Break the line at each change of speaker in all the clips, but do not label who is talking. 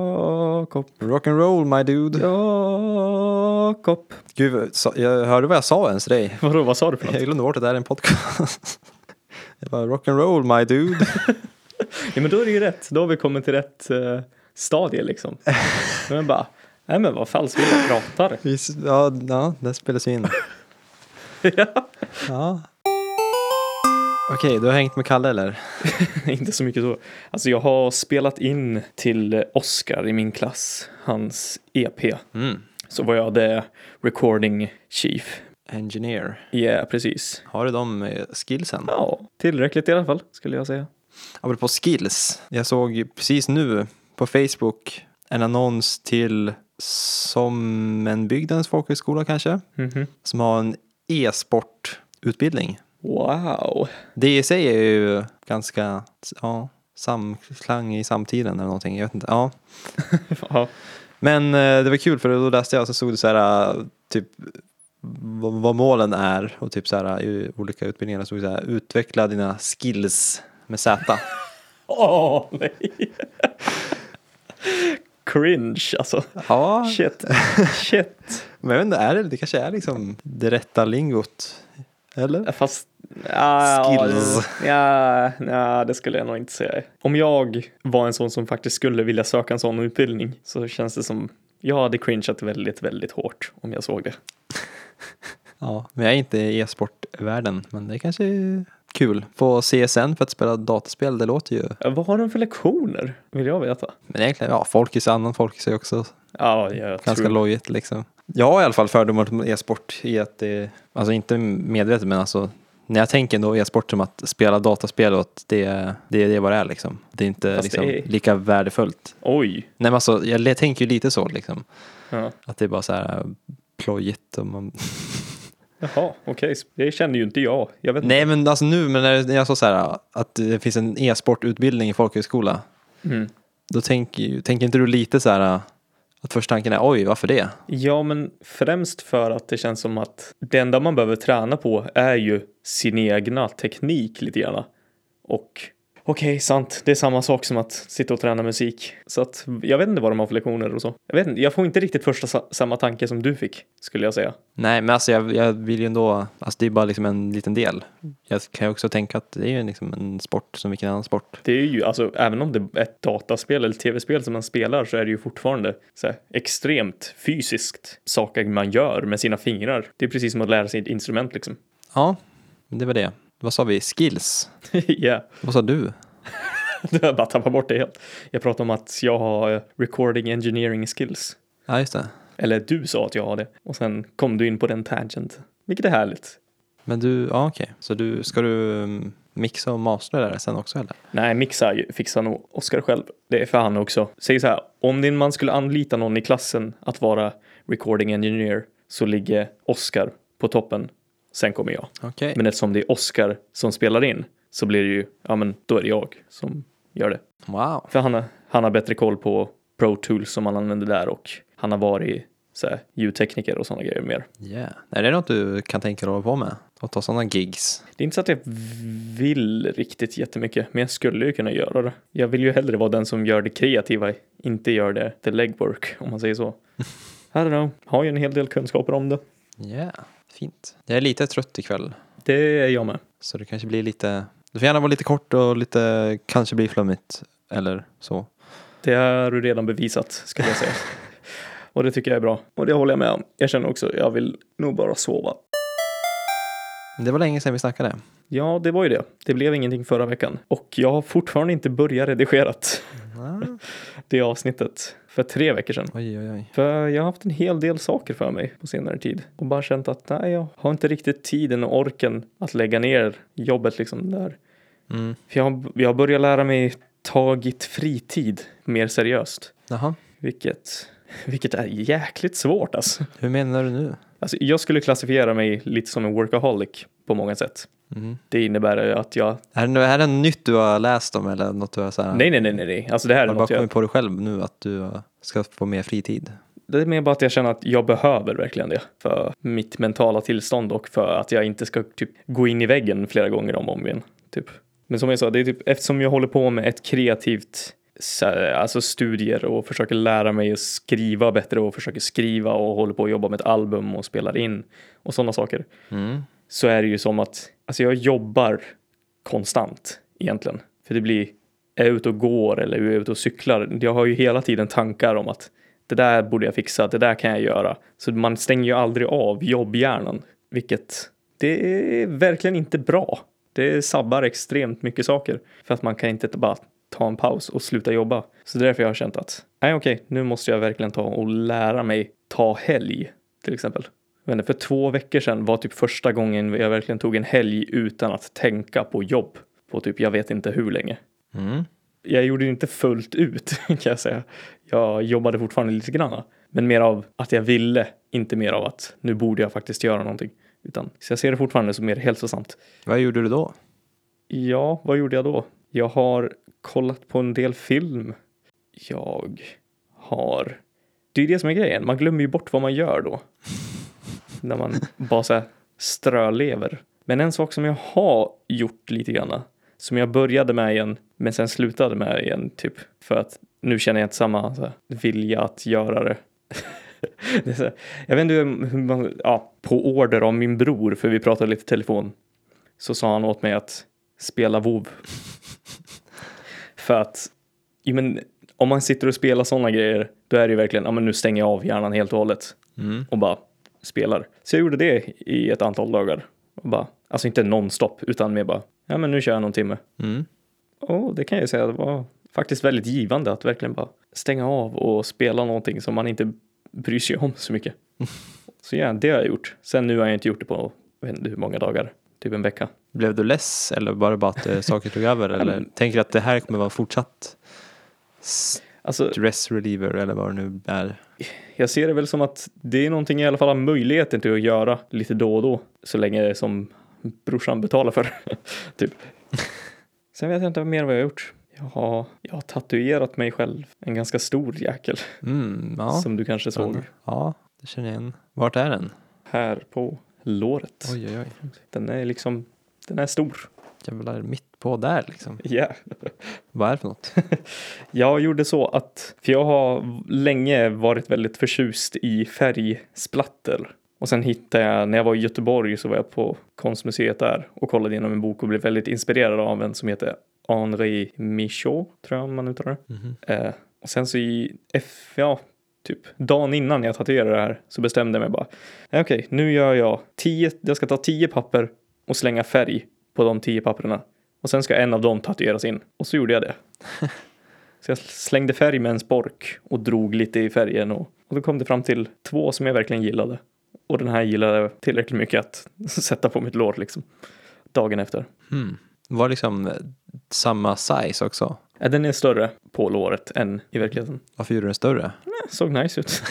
Jakob,
Rock'n'roll my dude.
Jakob.
Gud, vad- sa- jag hörde vad jag sa ens till dig.
Vadå, vad sa du för
Jag
något?
glömde bort att det här är en podcast. Jag bara rock'n'roll my dude.
Ja, men då är det ju rätt. Då har vi kommit till rätt eh, stadie liksom. Då är man bara, nej men vad falskt vill jag pratar.
Vi s- Ja, ja det spelas ju in. Ja. Okej, du har hängt med Kalle eller?
Inte så mycket så. Alltså jag har spelat in till Oscar i min klass, hans EP.
Mm.
Så var jag the recording chief.
Engineer.
Ja, precis.
Har du de eh, skillsen?
Ja, tillräckligt i alla fall skulle jag säga.
Apropå skills. Jag såg ju precis nu på Facebook en annons till Sommenbygdens folkhögskola kanske.
Mhm.
Som har en e-sportutbildning.
Wow.
Det i sig är ju ganska ja, samklang i samtiden eller någonting. Jag vet inte. Ja.
ja.
Men eh, det var kul för då läste jag och så stod det så här eh, typ vad, vad målen är och typ så här i olika utbildningar stod det så här utveckla dina skills med Z.
Åh, nej. Cringe alltså.
ja,
Shit. Shit.
men jag vet inte, är det, det kanske är liksom det rätta lingot. Eller?
Fast... ja,
Skills.
Ja, ja, det skulle jag nog inte säga. Om jag var en sån som faktiskt skulle vilja söka en sån utbildning så känns det som jag hade cringeat väldigt, väldigt hårt om jag såg det.
Ja, men jag är inte i e-sportvärlden, men det kanske är kul. Få CSN för att spela dataspel, det låter ju
Ja, Vad har de för lektioner? Vill jag veta.
Men egentligen, ja, folkis annan folkis är också
Ja, jag
ganska
tror...
lojigt liksom. Jag har i alla fall fördomar om e-sport i att det, alltså inte medvetet men alltså när jag tänker då e-sport som att spela dataspel och att det, det, det är vad det är liksom. Det är inte
Fast
liksom,
det är-
lika värdefullt.
Oj.
Nej men alltså jag le- tänker ju lite så liksom.
Ja.
Att det är bara så här äh, plojigt och man...
Jaha, okej. Det kände ju inte jag. Jag vet
Nej men alltså nu men när jag- när jag sa så här äh, att det finns en e-sportutbildning i folkhögskola.
inte. Mm.
Då tänker, ju- tänker inte du lite så här äh, att första tanken är oj varför det?
Ja, men främst för att det känns som att det enda man behöver träna på är ju sin egna teknik lite grann. Och okej, sant, det är samma sak som att sitta och träna musik. Så att jag vet inte vad de har för lektioner och så. Jag vet inte, jag får inte riktigt första sa- samma tanke som du fick, skulle jag säga.
Nej, men alltså jag, jag vill ju ändå, alltså det är bara liksom en liten del. Jag kan ju också tänka att det är ju liksom en sport som vilken annan sport.
Det är ju, alltså, även om det är ett dataspel eller tv-spel som man spelar så är det ju fortfarande så här, extremt fysiskt saker man gör med sina fingrar. Det är precis som att lära sig ett instrument liksom.
Ja, men det var det. Vad sa vi? Skills?
Ja. yeah.
Vad sa du?
Jag bara tappar bort det helt. Jag pratar om att jag har eh, recording engineering skills.
Ja, just det.
Eller du sa att jag har det. Och sen kom du in på den tangent. Vilket är härligt.
Men du, ja okej. Så du, ska du mm, mixa och mastra det där sen också eller?
Nej, mixa ju- fixar nog Oskar själv. Det är för han också. Säg så här, om din man skulle anlita någon i klassen att vara recording engineer så ligger Oskar på toppen. Sen kommer jag.
Okej.
Men eftersom det är Oskar som spelar in så blir det ju, ja men då är det jag som gör det.
Wow.
För han, har- han har bättre koll på Pro Tools som han använder där och han har varit så här, ljudtekniker och sådana grejer mer.
Yeah. Är det något du kan tänka dig att hålla på med? Att ta sådana gigs?
Det är inte så att jag vill riktigt jättemycket, men jag skulle ju kunna göra det. Jag vill ju hellre vara den som gör det kreativa, inte gör det the legwork, om man säger så. I don't know, har ju en hel del kunskaper om det.
Yeah. Fint. Jag är lite trött ikväll.
Det är jag med.
Så det kanske blir lite, det får gärna vara lite kort och lite, kanske blir flummigt. Eller så.
Det har du redan bevisat, skulle jag säga. och det tycker jag är bra. Och det håller jag med om. Jag känner också, jag vill nog bara sova.
Det var länge sedan vi snackade.
Ja, det var ju det. Det blev ingenting förra veckan. Och jag har fortfarande inte börjat redigerat det avsnittet för tre veckor sedan.
Oj, oj, oj.
För jag har haft en hel del saker för mig på senare tid och bara känt att nej, jag har inte riktigt tiden och orken att lägga ner jobbet liksom där.
Mm.
För jag, har- jag har börjat lära mig tagit fritid mer seriöst,
Jaha,
vilket, vilket är jäkligt svårt alltså.
hur menar du nu?
alltså. Jag skulle klassifiera mig lite som en workaholic på många sätt.
Mm.
Det innebär ju att jag
Är, det, är det något nytt du har läst om eller något du har så här,
Nej, nej, nej, nej, nej. Alltså det här är
har du bara
något jag,
kommit på dig själv nu att du eh, ska få mer fritid?
det är mer bara att jag känner att jag behöver verkligen det för mitt mentala tillstånd och för att jag inte ska typ gå in i väggen flera gånger om och om igen. Typ. Men som jag sa, det är typ eftersom jag håller på med ett kreativt så- alltså studier och försöker lära mig att skriva bättre och försöker skriva och håller på att jobba med ett album och spelar in och sådana saker
Mm.
så är det ju som att alltså jag jobbar konstant egentligen. För det blir, är jag ute och går eller är jag ute och cyklar? Jag har ju hela tiden tankar om att det där borde jag fixa, det där kan jag göra. Så man stänger ju aldrig av jobbhjärnan, vilket det är verkligen inte bra. Det sabbar extremt mycket saker för att man kan inte bara ta en paus och sluta jobba. Så det är därför jag har känt att nej okej, nu måste jag verkligen ta och lära mig ta helg till exempel. Jag vet inte, för två veckor sedan var typ första gången jag verkligen tog en helg utan att tänka på jobb på typ jag vet inte hur länge.
Mm.
Jag gjorde det inte fullt ut kan jag säga. Jag jobbade fortfarande lite grann. Men mer av att jag ville, inte mer av att nu borde jag faktiskt göra någonting. Utan, så jag ser det fortfarande som mer hälsosamt.
Vad gjorde du då?
Ja, vad gjorde jag då? Jag har kollat på en del film. Jag har... Det är ju det som är grejen, man glömmer ju bort vad man gör då. När man bara så här strölever. Men en sak som jag har gjort lite grann, som jag började med igen, men sen slutade med igen typ, för att nu känner jag inte samma så här, vilja att göra det. det är så här, jag vet inte hur man, ja, på order av min bror, för vi pratade lite telefon, så sa han åt mig att spela WoW. För att, ja, men, om man sitter och spelar sådana grejer, då är det ju verkligen, ja men nu stänger jag av hjärnan helt och hållet
Mm.
och bara spelar. Så jag gjorde det i ett antal dagar. Och bara, alltså inte nonstop, utan mer bara, ja men nu kör jag någon timme.
Mm.
Och det kan jag ju säga, det var faktiskt väldigt givande att verkligen bara stänga av och spela någonting som man inte bryr sig om så mycket. Så ja, det har jag gjort. Sen nu har jag inte gjort det på, jag vet inte hur många dagar, typ en vecka.
Blev du less eller var det bara att eh, saker tog över? Eller
Mm.
tänker du att det här kommer vara fortsatt
Alltså,
stress reliever eller vad det nu är?
Jag ser det väl som att det är någonting jag i alla fall har möjligheten till att göra lite då och då. Så länge det är som brorsan betalar för. typ. Sen vet jag inte mer vad jag har gjort. Jag har, jag har tatuerat mig själv. En ganska stor jäkel.
Mm, ja.
Som du kanske såg.
Ja, det känner jag igen. Vart är den?
Här på låret.
Oj, oj, oj.
Den är liksom, den är stor.
Jävlar, mitt på där liksom.
Yeah.
Vad är det för något?
Jag gjorde så att, för jag har länge varit väldigt förtjust i färgsplatter. Och sen hittade jag, när jag var i Göteborg så var jag på konstmuseet där och kollade igenom en bok och blev väldigt inspirerad av en som heter Henri Michaud, tror jag man uttalar
Mhm.
det. Eh, och sen så i, F, ja, typ dagen innan jag tatuerade det här så bestämde jag mig bara, "Nej, okej, nu gör jag tio, jag ska ta tio papper och slänga färg på de tio papperna. Och sen ska en av dem tatueras in. Och så gjorde jag det. Så jag slängde färg med en spork och drog lite i färgen och, och då kom det fram till två som jag verkligen gillade. Och den här gillade jag tillräckligt mycket att sätta på mitt lår liksom. Dagen efter.
Hmm. Var liksom eh, samma size också?
Ja, Eh, den är större på låret än i verkligheten.
Varför gjorde du den större?
Eh, såg nice ut.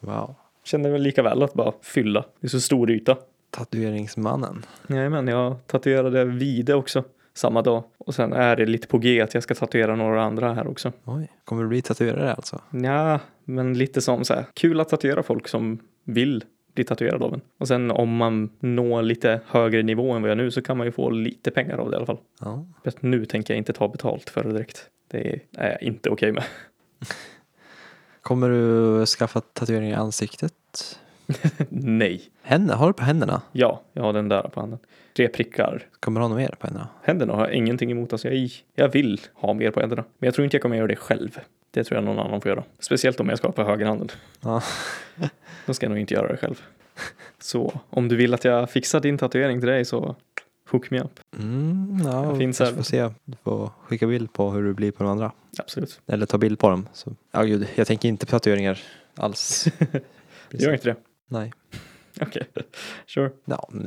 Wow.
Kände väl lika väl att bara fylla. Det är så stor yta.
Tatueringsmannen.
men jag tatuerade vide också samma dag. Och sen är det lite på G att jag ska tatuera några andra här också.
Oj. Kommer du bli tatuerare alltså?
Ja, men lite som så här, kul att tatuera folk som vill bli tatuerad av en. Och sen om man når lite högre nivå än vad jag är nu så kan man ju få lite pengar av det i alla fall.
Ja.
För att nu tänker jag inte ta betalt för det direkt. Det är jag inte okej med.
Kommer du skaffa tatueringar i ansiktet?
Nej.
Händer, har du på händerna?
Ja, jag har den där på handen. Tre prickar.
Kommer du ha något mer på händerna?
Händerna har jag ingenting emot. Alltså jag, jag vill ha mer på händerna. Men jag tror inte jag kommer göra det själv. Det tror jag någon annan får göra. Speciellt om jag ska ha på högerhanden.
Ja.
Då ska jag nog inte göra det själv. Så om du vill att jag fixar din tatuering till dig så hook me up.
Mm, ja,
Det finns
vi kanske
här.
får se. Du får skicka bild på hur du blir på de andra.
Absolut.
Eller ta bild på dem. Så. Ja, gud, jag tänker inte på tatueringar alls.
Gör inte det.
Nej.
Okej. Sure.
Ja, men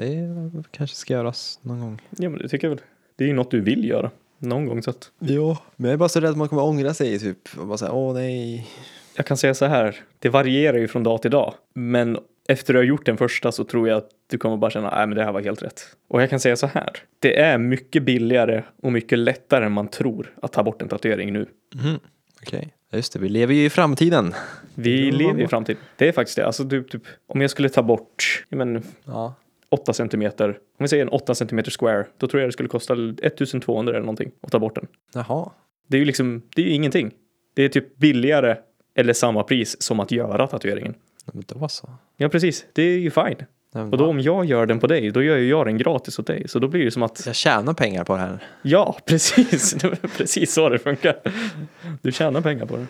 det kanske ska göras någon gång.
Ja, men det tycker jag väl. Det är ju något du vill göra. Någon gång så att.
Ja, men jag är bara så rädd att man kommer ångra sig typ. Och bara säga åh nej.
Jag kan säga så här. Det varierar ju från dag till dag. Men efter du har gjort den första så tror jag att du kommer bara känna nej men det här var helt rätt. Och jag kan säga så här. Det är mycket billigare och mycket lättare än man tror att ta bort en tatuering nu.
Mhm. Okej, Ja, just det, vi lever ju i framtiden.
Vi
Det var
lever i
bra.
framtiden. Det är faktiskt det. Alltså typ, typ om jag skulle ta bort ja, men,
Ja.
8 centimeter, om vi säger en 8 centimeter square, då tror jag det skulle kosta 1200 eller någonting att ta bort den.
Jaha,
Det är ju liksom, det är ju ingenting. Det är typ billigare eller samma pris som att göra tatueringen.
Ja, Men då så.
Ja, precis. Det är ju fine.
Ja, men
Och då
va?
om jag gör den på dig, då gör ju jag den gratis åt dig. Så då blir det som att,
Jag tjänar pengar på det här.
ja, precis. Det var precis så det funkar. Du tjänar pengar på det.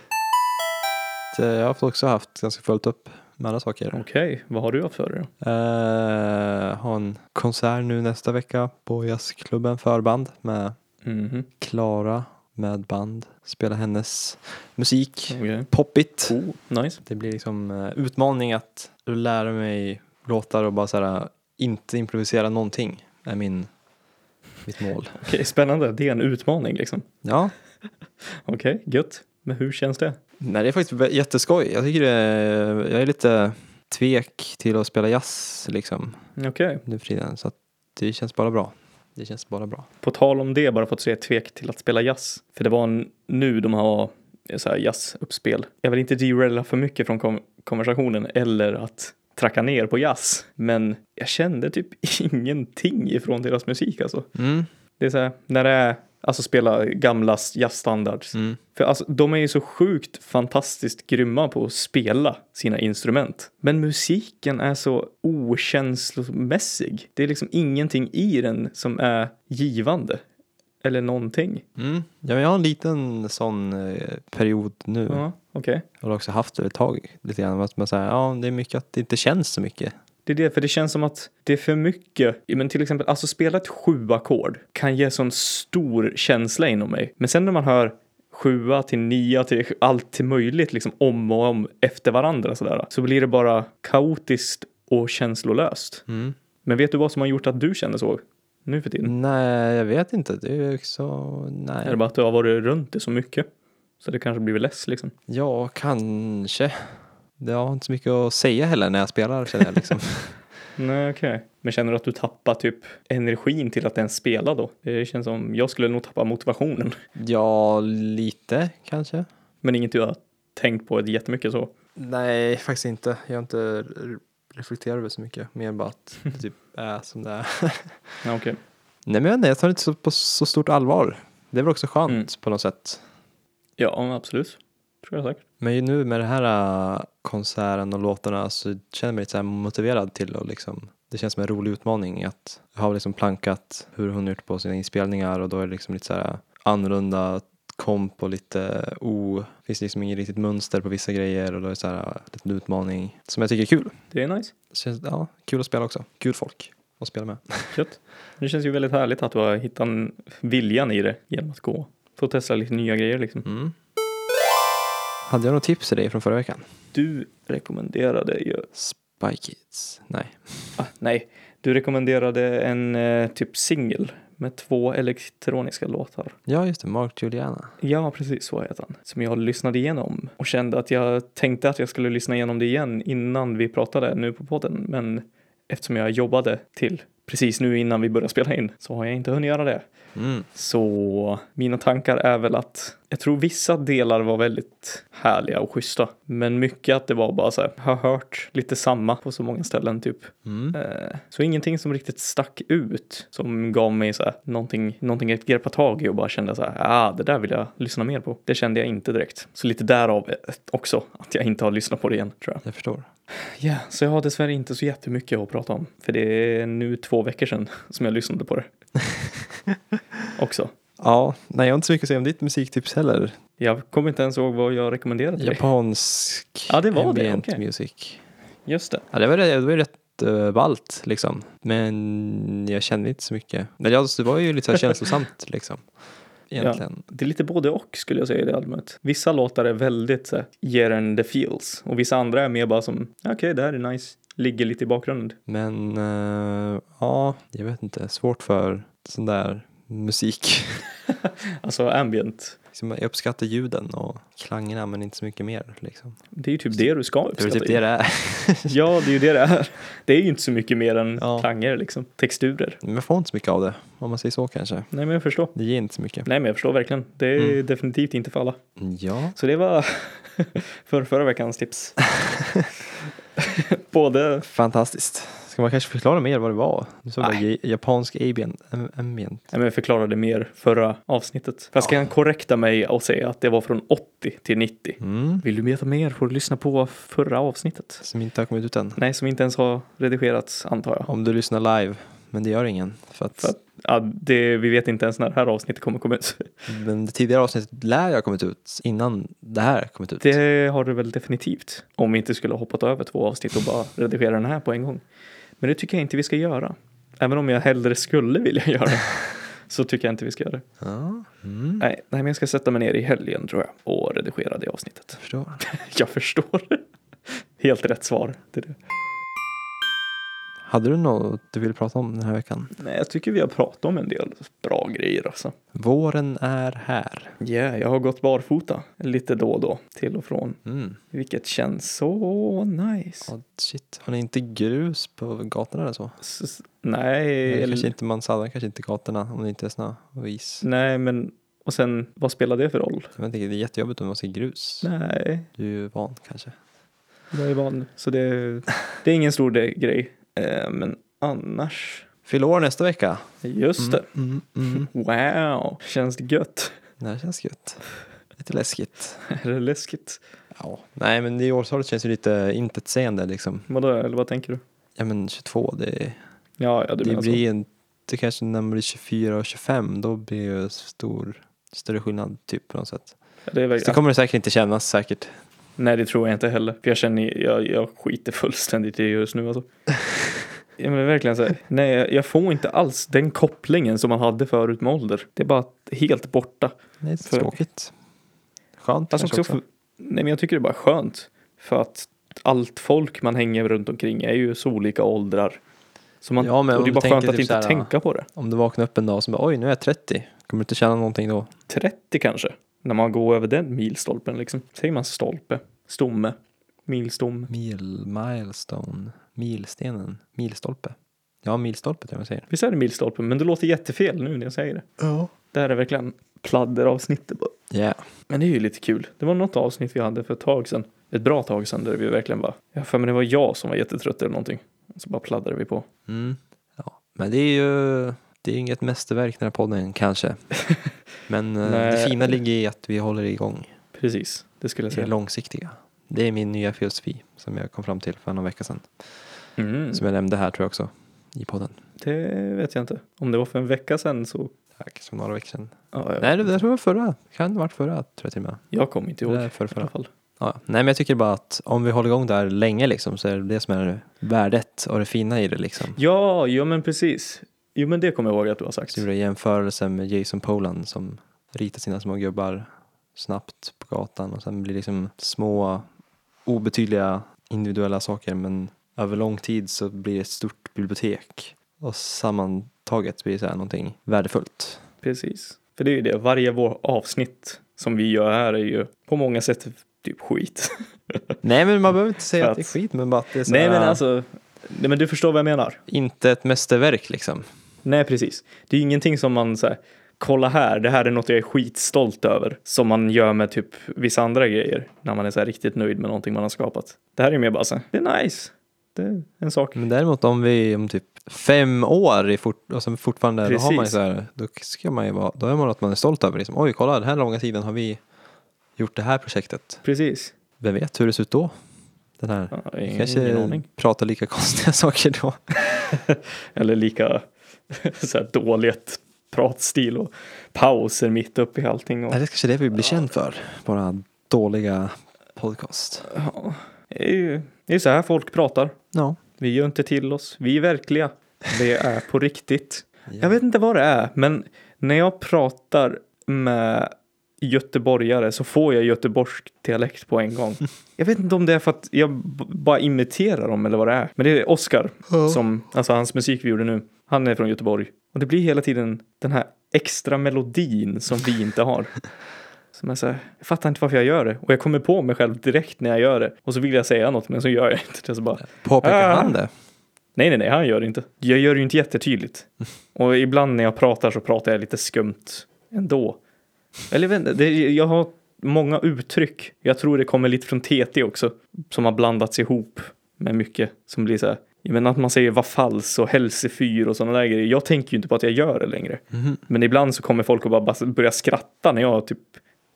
Så Jag har också haft ganska fullt upp med andra saker.
Okej, vad har du haft för dig då?
Eh, har en konsert nu nästa vecka på jazzklubben förband med
Mhm,
Klara med band. Spela hennes musik.
okej.
Poppigt.
Oh, nice.
Det blir liksom eh, utmaning att lära mig låtar och bara så här, eh, inte improvisera någonting är min, mitt mål.
Okej, spännande. Det är en utmaning liksom.
Ja,
Okej, gött. Men hur känns det?
nej, det är faktiskt vä- jätteskoj. Jag tycker det är, jag är lite tvek till att spela jazz liksom
Okej.
nu för tiden så att det känns bara bra. Det känns bara bra.
På tal om det, bara för att se tvek till att spela jazz. För det var en, nu de har eh, så här jazzuppspel. Jag vill inte deraila för mycket från kom- konversationen eller att tracka ner på jazz. Men jag kände typ ingenting ifrån deras musik alltså.
Mm.
Det är så här, när det är, alltså spela gamla jazzstandards.
Mm.
För alltså, de är ju så sjukt fantastiskt grymma på att spela sina instrument. Men musiken är så okänslomässig. Det är liksom ingenting i den som är givande. Eller någonting.
Mm. Ja, men jag har en liten sån eh, period nu.
Ja, okej.
Jag har också haft det ett tag lite grann. Att man säger, ja, det är mycket att det inte känns så mycket.
Det är det, för det känns som att det är för mycket. Ja, Men till exempel, alltså spela ett sjuackord kan ge sån stor känsla inom mig. Men sen när man hör sjua till nia till allt till möjligt liksom om och om efter varandra sådär. Så blir det bara kaotiskt och känslolöst.
Mm.
Men vet du vad som har gjort att du känner så nu för tiden?
Nej, jag vet inte. Det är ju också, nej.
Är det bara att du har varit runt det så mycket? Så det kanske blivit less liksom.
Ja, kanske. Jag har inte så mycket att säga heller när jag spelar känner jag liksom.
Nej, okej. Men känner du att du tappar typ energin till att ens spela då? Det känns som, jag skulle nog tappa motivationen.
ja, lite kanske.
Men inget jag har tänkt på jättemycket så.
Nej, faktiskt inte. Jag har inte r- reflekterat över så mycket. Mer bara att det typ är som det är.
Ja, okej.
nej, men jag vet inte, jag tar det inte så, på så stort allvar. Det är väl också skönt
Mm.
på något sätt.
Ja, absolut. Tror jag säkert.
Men ju nu med den här äh, konserten och låtarna så känner jag mig lite så här motiverad till och liksom det känns som en rolig utmaning att jag har liksom plankat hur hon gjort på sina inspelningar och då är det liksom lite så här annorlunda komp och lite äh, o, finns liksom inget riktigt mönster på vissa grejer och då är det så här äh, lite utmaning som jag tycker är kul.
Det är nice.
Så känns, ja, kul att spela också, kul folk att spela med.
Gött. Det känns ju väldigt härligt att du har hittat en- viljan i det genom att gå. Få testa lite nya grejer liksom.
Mm. Hade jag något tips till dig från förra veckan?
Du rekommenderade ju...
Spy Kids? Nej.
Ah, nej, du rekommenderade en eh, typ singel med två elektroniska låtar.
Ja just det, Mark Juliana.
Ja, precis så heter han. Som jag lyssnade igenom och kände att jag tänkte att jag skulle lyssna igenom det igen innan vi pratade nu på podden. Men eftersom jag jobbade till precis nu innan vi började spela in så har jag inte hunnit göra det.
Mm.
Så mina tankar är väl att jag tror vissa delar var väldigt härliga och schyssta. Men mycket att det var bara så här, har hört lite samma på så många ställen typ.
Mm.
Eh, Så ingenting som riktigt stack ut som gav mig så här, någonting, någonting att greppa tag i och bara kände så här, ah, det där vill jag lyssna mer på. Det kände jag inte direkt. Så lite därav eh, också att jag inte har lyssnat på det igen tror jag.
Jag förstår.
Ja, så jag har dessvärre inte så jättemycket att prata om. För det är nu två veckor sedan som jag lyssnade på det. också.
Ja, nej jag har inte så mycket att säga om ditt musiktips heller.
Jag kommer inte ens ihåg vad jag rekommenderade till dig.
Japansk
Ja, det var det,
ambient
okej.
music.
Just det.
Ja, det var, det var ju rätt uh, ballt liksom. Men jag kände inte så mycket. Men jag, det var ju lite så här känslosamt liksom. Egentligen.
Det är lite både och skulle jag säga i det allmänt. Vissa låtar är väldigt så här, ger en the feels och vissa andra är mer bara som okej det här är nice, ligger lite i bakgrunden.
Men eh, ja, jag vet inte. Svårt för sån där musik.
Alltså ambient.
Liksom, jag uppskattar ljuden och klangerna men inte så mycket mer liksom.
Det är ju typ det du ska
Det är
uppskatta.
väl typ det det är.
Ja, det är ju det det är. Det är ju inte så mycket mer än
Ja.
klanger liksom. Texturer.
Men jag får inte så mycket av det. Om man säger så kanske.
Nej men jag förstår.
Det ger inte så mycket.
Nej men jag förstår verkligen. Det är
Mm.
definitivt inte för alla.
Ja.
Så det var för förra veckans tips. både
Fantastiskt. Ska Ska man kanske förklara mer vad det var? Du sa bara
Nej.
ja- japansk ambient. am- ambient.
Nej, men jag förklarade mer förra avsnittet. Fast kan korrekta mig och säga att det var från 80 till 90.
Mm.
Vill du veta mer får du lyssna på förra avsnittet.
Som inte har kommit ut än.
Nej, som inte ens har redigerats antar jag.
Om du lyssnar live. Men det gör ingen. För att,
För att, ja, det, vi vet inte ens när det här avsnittet kommer komma ut.
Men det tidigare avsnittet lär jag ha kommit ut innan det här kommit ut.
Det har du väl definitivt. Om vi inte skulle ha hoppat över två avsnitt och bara redigera den här på en gång. Men det tycker jag inte vi ska göra. Även om jag hellre skulle vilja göra. Så tycker jag inte vi ska göra det.
Ja.
Nej,
Mm.
nej, men jag ska sätta mig ner i helgen tror jag och redigera det avsnittet.
Jag förstår.
Jag förstår. Helt rätt svar. till det.
Hade du något du ville prata om den här veckan?
Nej, jag tycker vi har pratat om en del bra grejer alltså.
Våren är här.
Ja, jag har gått barfota lite då och då, till och från.
Mm.
Vilket känns så nice.
Ja, shit, har ni inte grus på gatorna eller så?
S- s- nej,
Eller
eller-
kanske inte, man sallar kanske inte gatorna om det inte är snö och is.
nej, men och sen vad spelar det för roll?
Jag tänker, det är jättejobbigt om man ser grus.
Nej,
Du är ju van kanske.
jag är van. Så det, det är ingen stor de- grej. Eh, men annars,
Fyll år nästa vecka.
just det.
Mm, mm.
Wow, känns det gött?
Det här känns gött. Lite läskigt.
är det läskigt?
Ja. Nej men det i årtalet känns ju lite intetsägande liksom.
Vadå, eller vad tänker du?
Ja men 22, det,
Ja, ja du
det
menar så.
blir alltså- en, det kanske när man blir 24 och 25 då blir det ju stor, större skillnad typ på något sätt.
Ja, det är
Så det
verkligen...
kommer det säkert inte kännas säkert.
Nej, det tror jag inte heller. För jag känner, jag, jag skiter fullständigt i det just nu alltså. Ja, men det är verkligen så här. Nej, jag- jag får inte alls den kopplingen som man hade förut med ålder. Det är bara helt borta.
Nej, det är
För-
tråkigt. Skönt
Alltså
kanske
också,
också.
för, nej men jag tycker det är bara skönt. För att allt folk man hänger runt omkring är ju så olika åldrar. Så man,
Ja, men
och
om
det är
du
bara skönt
tänker
att
typ
inte
så här,
tänka på det.
Om du vaknar upp en dag och så bara oj nu är jag 30. Kommer du inte känna någonting då?
30 kanske. När man går över den milstolpen liksom. Säger man stolpe? Stomme? Milstomme?
Mil, milestone, milstenen, milstolpe. Ja, milstolpe tror jag man säger.
Visst är det milstolpe? Men det låter jättefel nu när jag säger det.
Ja.
Det här är verkligen pladderavsnittet. bara.
Yeah.
Men det är ju lite kul. Det var något avsnitt vi hade för ett tag sedan. Ett bra tag sedan där vi verkligen bara, jag har för mig det var jag som var jättetrött eller någonting. Och så bara pladdrade vi på.
Mm. Ja. Men det är ju det är inget mästerverk den här podden kanske. Men eh, det
Nej.
fina ligger i att vi håller igång.
Precis, det skulle jag
Det är
säga.
långsiktiga. Det är min nya filosofi som jag kom fram till för någon vecka sedan.
Mm.
Som jag nämnde här tror jag också i podden.
Det vet jag inte. Om det var för en vecka sedan så,
Tack, som några veckor sedan.
ja, jag,
Nej, det där tror jag var förra. Kan ha varit förra tror jag till och med.
jag kommer inte ihåg.
Eller
I
förra,
alla
förra.
fall.
Ja, nej men jag tycker bara att om vi håller igång där länge liksom så är det det som är värdet och det fina i det liksom.
Ja, ja men precis. Jo men det kommer jag ihåg att du har sagt.
Så gjorde jag jämförelsen med Jason Polan som ritar sina små gubbar snabbt på gatan och sen blir det liksom små obetydliga individuella saker men över lång tid så blir det ett stort bibliotek och sammantaget blir det så här någonting värdefullt.
Precis. För det är ju det, varje vår avsnitt som vi gör här är ju på många sätt typ skit.
Nej men man behöver inte säga
För
att det är
att-
skit men bara att det är så
Nej men
här,
alltså, nej men du förstår vad jag menar.
inte ett mästerverk liksom.
Nej, precis. Det är ingenting som man så här, kolla här, det här är något jag är skitstolt över. Som man gör med typ vissa andra grejer. När man är så här riktigt nöjd med någonting man har skapat. Det här är mer bara så här, det är nice. Det är en sak.
Men däremot om vi om typ fem år är fort, och sen fortfarande, då har man ju
Precis.
så här, då ska man ju vara, då är man något man är stolt över liksom. Oj, kolla den här långa tiden har vi gjort det här projektet.
Precis.
Vem vet hur det ser ut då? Den här.
Ja,
Vi
ingen,
kanske
ingen aning.
pratar lika konstiga saker då.
Eller lika så här dåligt pratstil och pauser mitt upp i allting. Och,
Nej, det är kanske det vi blir känd för. Bara dåliga podcast.
ja, det är ju det är så här folk pratar.
Ja.
Vi gör inte till oss. Vi är verkliga. Det är på riktigt. Jag vet inte vad det är, men när jag pratar med göteborgare så får jag göteborgsk dialekt på en gång. Jag vet inte om det är för att jag b- bara imiterar dem eller vad det är. Men det är Oscar, som, alltså hans musik vi gjorde nu, han är från Göteborg. Och det blir hela tiden den här extra melodin som vi inte har. Som är så här, jag fattar inte varför jag gör det. Och jag kommer på mig själv direkt när jag gör det. Och så vill jag säga något, men så gör jag inte det. Så bara,
Påpekar
Ah.
han det?
Nej, nej, nej, han gör det inte. Jag gör det ju inte jättetydligt. Och ibland när jag pratar så pratar jag lite skumt ändå. Eller jag vet inte, det, jag har många uttryck. Jag tror det kommer lite från TT också. Som har blandats ihop med mycket som blir så här. Jag menar att man säger vad falskt och hälsefyr och sådana där grejer. Jag tänker ju inte på att jag gör det längre.
Mhm.
Men ibland så kommer folk och bara bas- börja skratta när jag typ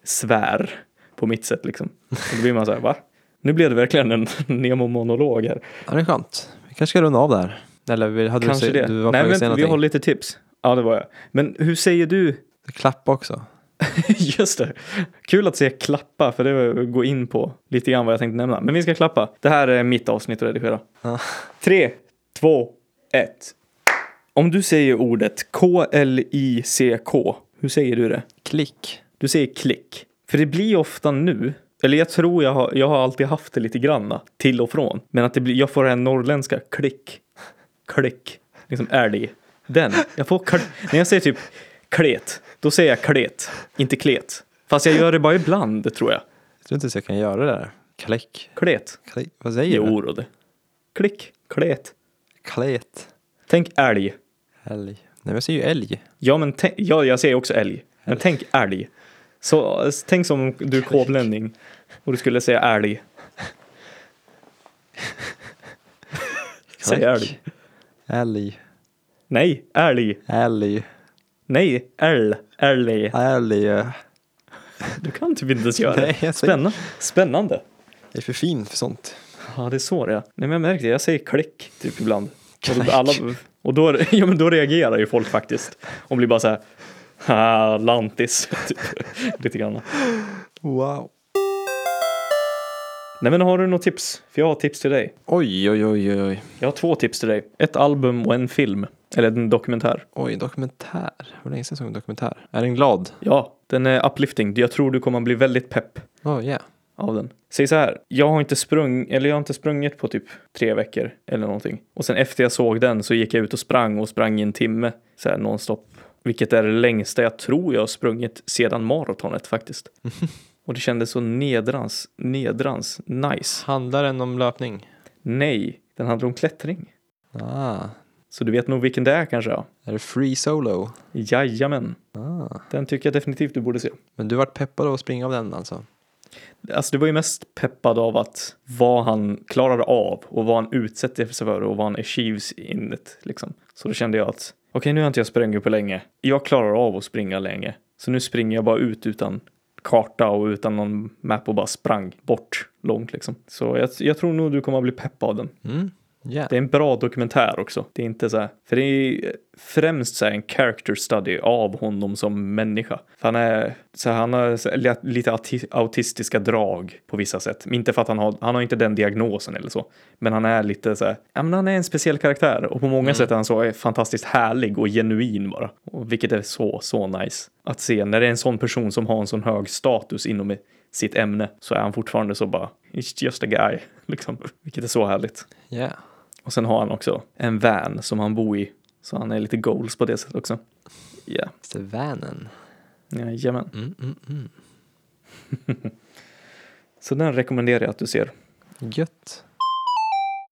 svär på mitt sätt liksom. Och då blir man så här, va? Nu blev det verkligen en Nemo-monolog här.
Ja, det är skönt. Vi kanske ska runda av där. Eller vi- hade
Kanske
du,
det.
säg- du var på
Nej,
väg att
men
säga
vi
någonting?
har lite tips. Ja, det var jag. Men hur säger du?
Klappa också.
Just det. Kul att säga klappa, för det går in på lite grann vad jag tänkte nämna. Men vi ska klappa. Det här är mitt avsnitt att redigera.
Ja.
Tre, två, ett. Om du säger ordet K-L-I-C-K, hur säger du det?
Klick.
Du säger klick. För det blir ofta nu, eller jag tror jag har, jag har alltid haft det lite granna, till och från. Men att det blir, jag får det här norrländska, klick, klick, liksom är det. Den, jag får, kl- när jag säger typ klet, då säger jag klet, inte klet. Fast jag gör det bara ibland tror jag.
Jag tror inte ens jag kan göra det där. Klick.
Klet,
Klick. Vad säger du?
jo då det. Klick, klet.
Klet.
Tänk älg.
Älg. Nej, men jag säger ju älg.
Ja, men tänk, ja, jag säger också älg. Men tänk älg. Så eh, tänk som du är kåblänning och du skulle säga älg. Säg älg.
Älg.
Nej, älg.
Älg.
Nej, älg. Älg.
Älg. Jag
Du kan typ inte ens göra
Nej,
det.
jag säger-
Spännande. Spännande.
är för fin för sånt.
Ja, det är så det är. Nej, men jag märkte det. Jag säger klick typ ibland. Och, då, alla, och då, ja, men då reagerar ju folk faktiskt. Och blir bara så här. "Ah, Lantis. Typ. Lite grann.
Wow.
Nej, men har du något tips? För jag har tips till dig.
Oj, oj, oj, oj.
Jag har två tips till dig. Ett album och en film. Eller en dokumentär.
Oj, dokumentär. Hur länge sedan jag såg en dokumentär? Är den glad?
Ja, den är uplifting. Jag tror du kommer bli väldigt pepp
Oh yeah.
av den. Säg så här, jag har inte sprung, eller jag har inte sprungit på typ tre veckor eller någonting. Och sen efter jag såg den så gick jag ut och sprang och sprang i en timme så här nonstop. Vilket är det längsta jag tror jag har sprungit sedan maratonet faktiskt. Och det kändes så nedrans, nedrans, nice.
Handlar den om löpning?
Nej, den handlar om klättring.
Ah.
Så du vet nog vilken det är kanske? Ja.
Är det free solo?
Jajamän,
Ah.
den tycker jag definitivt du borde se.
Men du vart peppad av att springa av den alltså?
Alltså du var ju mest peppad av att vad han klarar av och vad han utsätter sig för och vad han achieves in it liksom. Så då kände jag att okej nu har inte jag sprungit på länge. Jag klarar av att springa länge. Så nu springer jag bara ut utan karta och utan någon map och bara sprang bort långt liksom. Så jag, jag tror nog du kommer att bli pepp av den.
Mm. Yeah.
Det är en bra dokumentär också. Det är inte så här, för det är främst så här en character study av honom som människa. För han är, så här, han har så här li- lite auti- autistiska drag på vissa sätt. Inte för att han har, han har inte den diagnosen eller så. Men han är lite så här, ja men han är en speciell karaktär. Och på många sätt är han så fantastiskt härlig och genuin bara. Och vilket är så, så nice att se. När det är en sån person som har en sån hög status inom sitt ämne så är han fortfarande så bara, it's just a guy. Liksom. Vilket är så härligt.
Yeah.
Och sen har han också en van som han bor i. Så han är lite goals på det sättet också. Ja,
Det är vanen.
jajamän.
Mm, mm, mm.
Så den rekommenderar jag att du ser.
Gött.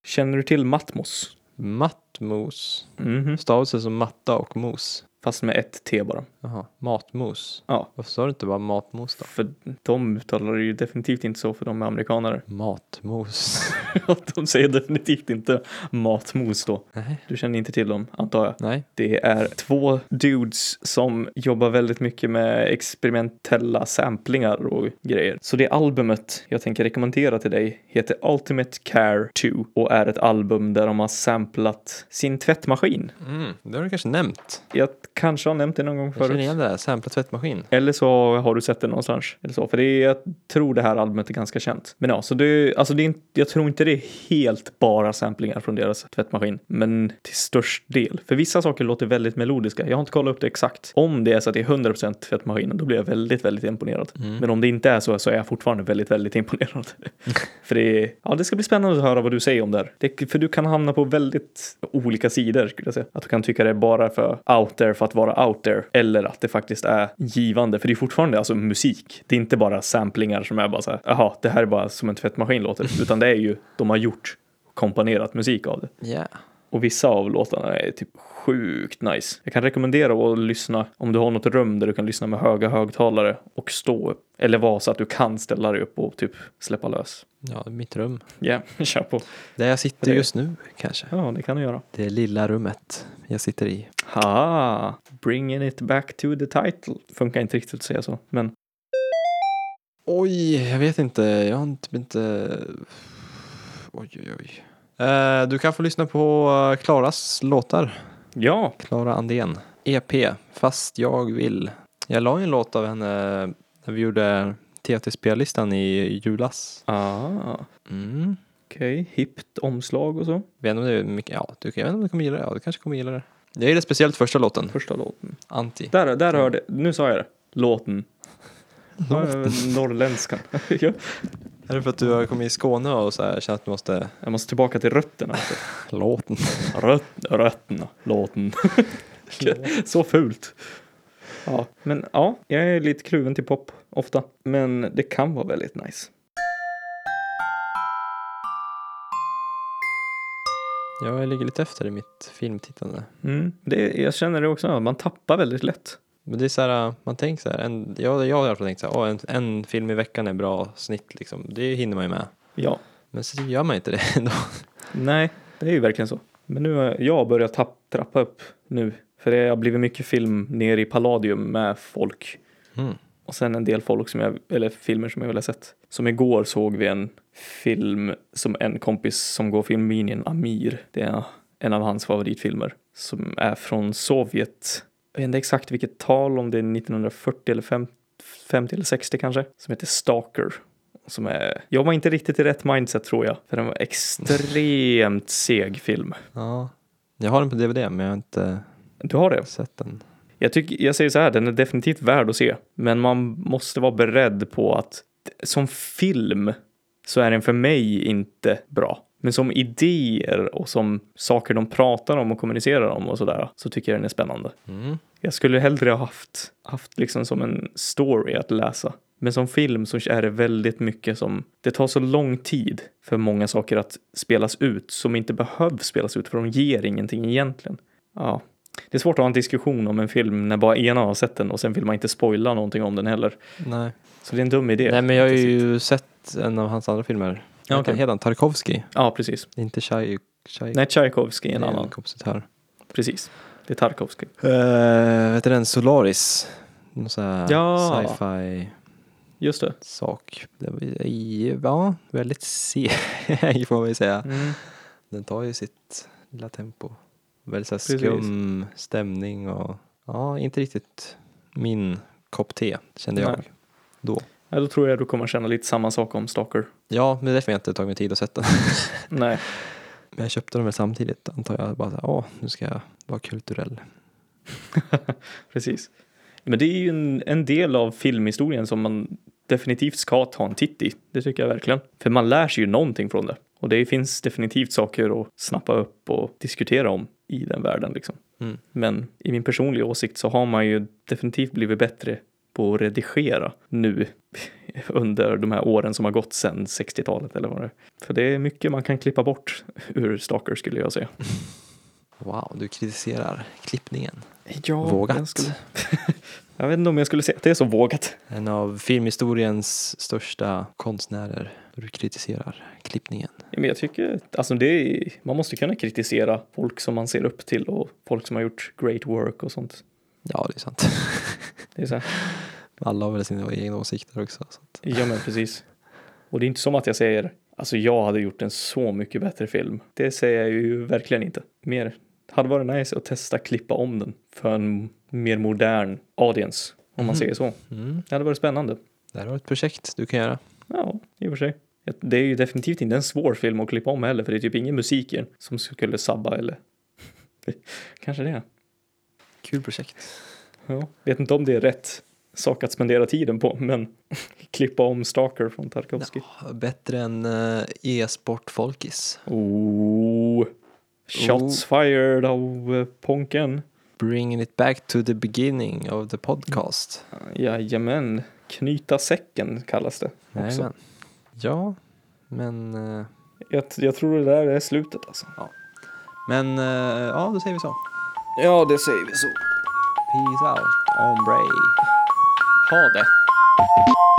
Känner du till Matmos?
Mattmos.
Mhm.
Stavelse som matta och mos.
Fast med ett T bara.
Jaha, matmos.
Ja,
Varför sa du inte bara matmos då?
för de uttalar det ju definitivt inte så för de är amerikanare.
Matmos.
de säger definitivt inte matmos då.
Nej.
Du känner inte till dem, antar jag.
Nej.
Det är två dudes som jobbar väldigt mycket med experimentella samplingar och grejer. Så det albumet jag tänker rekommendera till dig heter Ultimate Care 2 och är ett album där de har samplat sin tvättmaskin.
Mm. Det har du kanske nämnt.
Jag kanske har nämnt det någon gång
Jag känner
förut.
igen det där. Sampla tvättmaskin.
Mm. Eller så har du sett det någonstans. Eller så. För det är, jag tror det här albumet är ganska känt. Men ja, så det, alltså det är, inte- jag tror inte det är helt bara samplingar från deras tvättmaskin. Men till störst del. För vissa saker låter väldigt melodiska. Jag har inte kollat upp det exakt. Om det är så att det är 100% tvättmaskinen, då blir jag väldigt, väldigt imponerad. Men om det inte är så, så är jag fortfarande väldigt, väldigt imponerad. för det, är- ja, det ska bli spännande att höra vad du säger om det här. Det, för du kan hamna på väldigt olika sidor skulle jag säga. Att du kan tycka det är bara för out there för att vara out there. Eller att det faktiskt är givande. För det är fortfarande alltså musik. Det är inte bara samplingar som är bara så här, jaha, det här är bara som en tvättmaskin låter. Utan det är ju, de har gjort komponerat musik av det.
Yeah.
Och vissa av låtarna är typ sjukt nice. Jag kan rekommendera att lyssna om du har något rum där du kan lyssna med höga högtalare och stå upp. Eller vara så att du kan ställa dig upp och typ släppa lös.
Ja, mitt rum.
Ja, kör på.
Där jag sitter
Det-
just nu kanske.
Ja, det kan du göra.
Det lilla rummet jag sitter i.
Ha, bringing it back to the title. Funkar inte riktigt att säga så, men
Oj, jag vet inte. Jag har inte... inte... Oj, oj, oj. Eh, du kan få lyssna på eh, Klaras låtar.
ja,
Klara Andén. EP, Fast jag vill. Jag la ju en låt av henne när vi gjorde TT-spellistan i julas.
Ah,
Mm.
okej. Hippt omslag och så.
Vet inte om det är mycket, ja, du, jag vet inte om du kommer gilla det. Ja, du kanske kommer gilla det. Jag gillar speciellt första låten,
Första låten.
Anti.
Där, där hörde, nu sa jag det. Låten.
Låten.
Eh, Norrländskan. Ja.
Är det för att du har kommit i Skåne och så här, känner att du måste...
jag måste tillbaka till rötterna. Alltså.
Låten.
Röt, rötterna, låten. så fult. Ja, men ja, jag är lite kluven till pop ofta. Men det kan vara väldigt nice.
Jag ligger lite efter i mitt filmtittande.
Mm. Det, jag känner det också, man tappar väldigt lätt.
Men det är så här, man tänker så här, en, jag, jag har i alla fall tänkt så här, "Åh, en, en film i veckan är bra snitt liksom, det hinner man ju med.
Ja,
Men så gör man inte det ändå.
nej, det är ju verkligen så. Men nu har jag börjat tapp, trappa upp nu. För det har blivit mycket film nere i Palladium med folk.
Mm.
Och sen en del folk som jag, eller filmer som jag väl har sett. Som igår såg vi en film som en kompis som går filmlinjen, Amir. Det är en av hans favoritfilmer. Som är från Sovjet. Jag vet inte exakt vilket tal, om det är 1940 eller 50, 50 eller 60 kanske. Som heter Stalker. Som är, jag var inte riktigt i rätt mindset tror jag. För den var extremt seg film.
Ja. Jag har den på DVD men jag har inte
Du har det?
sett den.
Jag, tycker, jag säger så här, den är definitivt värd att se. Men man måste vara beredd på att som film så är den för mig inte bra. Men som idéer och som saker de pratar om och kommunicerar om och sådär så tycker jag den är spännande.
Mm.
Jag skulle hellre ha haft, haft liksom som en story att läsa. Men som film så är det väldigt mycket som, det tar så lång tid för många saker att spelas ut som inte behövs spelas ut för de ger ingenting egentligen. Ja, det är svårt att ha en diskussion om en film när bara ena har sett den och sen vill man inte spoila någonting om den heller.
Nej.
Så det är en dum idé.
Nej men jag har ju sett en av hans andra filmer.
Ja,
Ja,
okej.
okay. Heter han Tarkovsky?
Ja, precis.
Inte Chai... Chai
Nej, Tchaikovsky är en
det
annan.
kompositör.
Precis. Det är Tarkovsky.
Uh, vet du den? Solaris. Någon sån här
Ja.
sci-fi
Just det.
sak. Det var- Ja, väldigt seg får man ju säga. Den tar ju sitt lilla tempo. Väldigt så här
Precis.
skum stämning och ja, inte riktigt min kopp te kände jag
Nej.
då.
Ja, då tror jag du kommer känna lite samma sak om Stalker.
Ja, men det är därför jag inte tagit mig tid att sätta den.
Nej.
Men jag köpte dem väl samtidigt antar jag. Bara så här, åh, nu ska jag vara kulturell.
Precis. Men det är ju en, en del av filmhistorien som man definitivt ska ta en titt i. Det tycker jag verkligen. För man lär sig ju någonting från det. Och det finns definitivt saker att snappa upp och diskutera om i den världen liksom.
Mm.
Men i min personliga åsikt så har man ju definitivt blivit bättre på att redigera nu under de här åren som har gått sedan 60-talet eller vad det är. För det är mycket man kan klippa bort ur Stalker skulle jag säga.
Wow, du kritiserar klippningen.
Ja,
Vågat.
Jag, skulle... jag vet inte om jag skulle säga att det är så vågat.
En av filmhistoriens största konstnärer. Du kritiserar klippningen.
Ja, Men jag tycker, alltså det är, man måste kunna kritisera folk som man ser upp till och folk som har gjort great work och sånt.
Ja, det är sant.
Det är så här,
Alla har väl sina egna åsikter också. Så att,
ja men precis. Och det är inte som att jag säger, alltså jag hade gjort en så mycket bättre film. Det säger jag ju verkligen inte. Mer, hade varit nice att testa klippa om den för en mer modern audience, om man
Mhm.
säger så.
mm.
Det hade varit spännande.
Det här var ett projekt du kan göra.
Ja, i och för sig. Det är ju definitivt inte en svår film att klippa om heller, för det är typ ingen musik i den som skulle sabba eller... Kanske det.
Kul projekt.
Ja, vet inte om det är rätt sak att spendera tiden på, men klippa om Stalker från Tarkovsky.
Ja, bättre än eh, e-sportfolkis.
Oh, shots fired av eh, Ponken.
Bringing it back to the beginning of the podcast.
Jajamän, knyta säcken kallas det. Också.
Jajamän. Ja, men eh,
Jag, jag tror det där är slutet alltså.
ja. Men eh, ja, då säger vi så.
Ja, det säger vi så.
Peace out, ombre.
Ha det.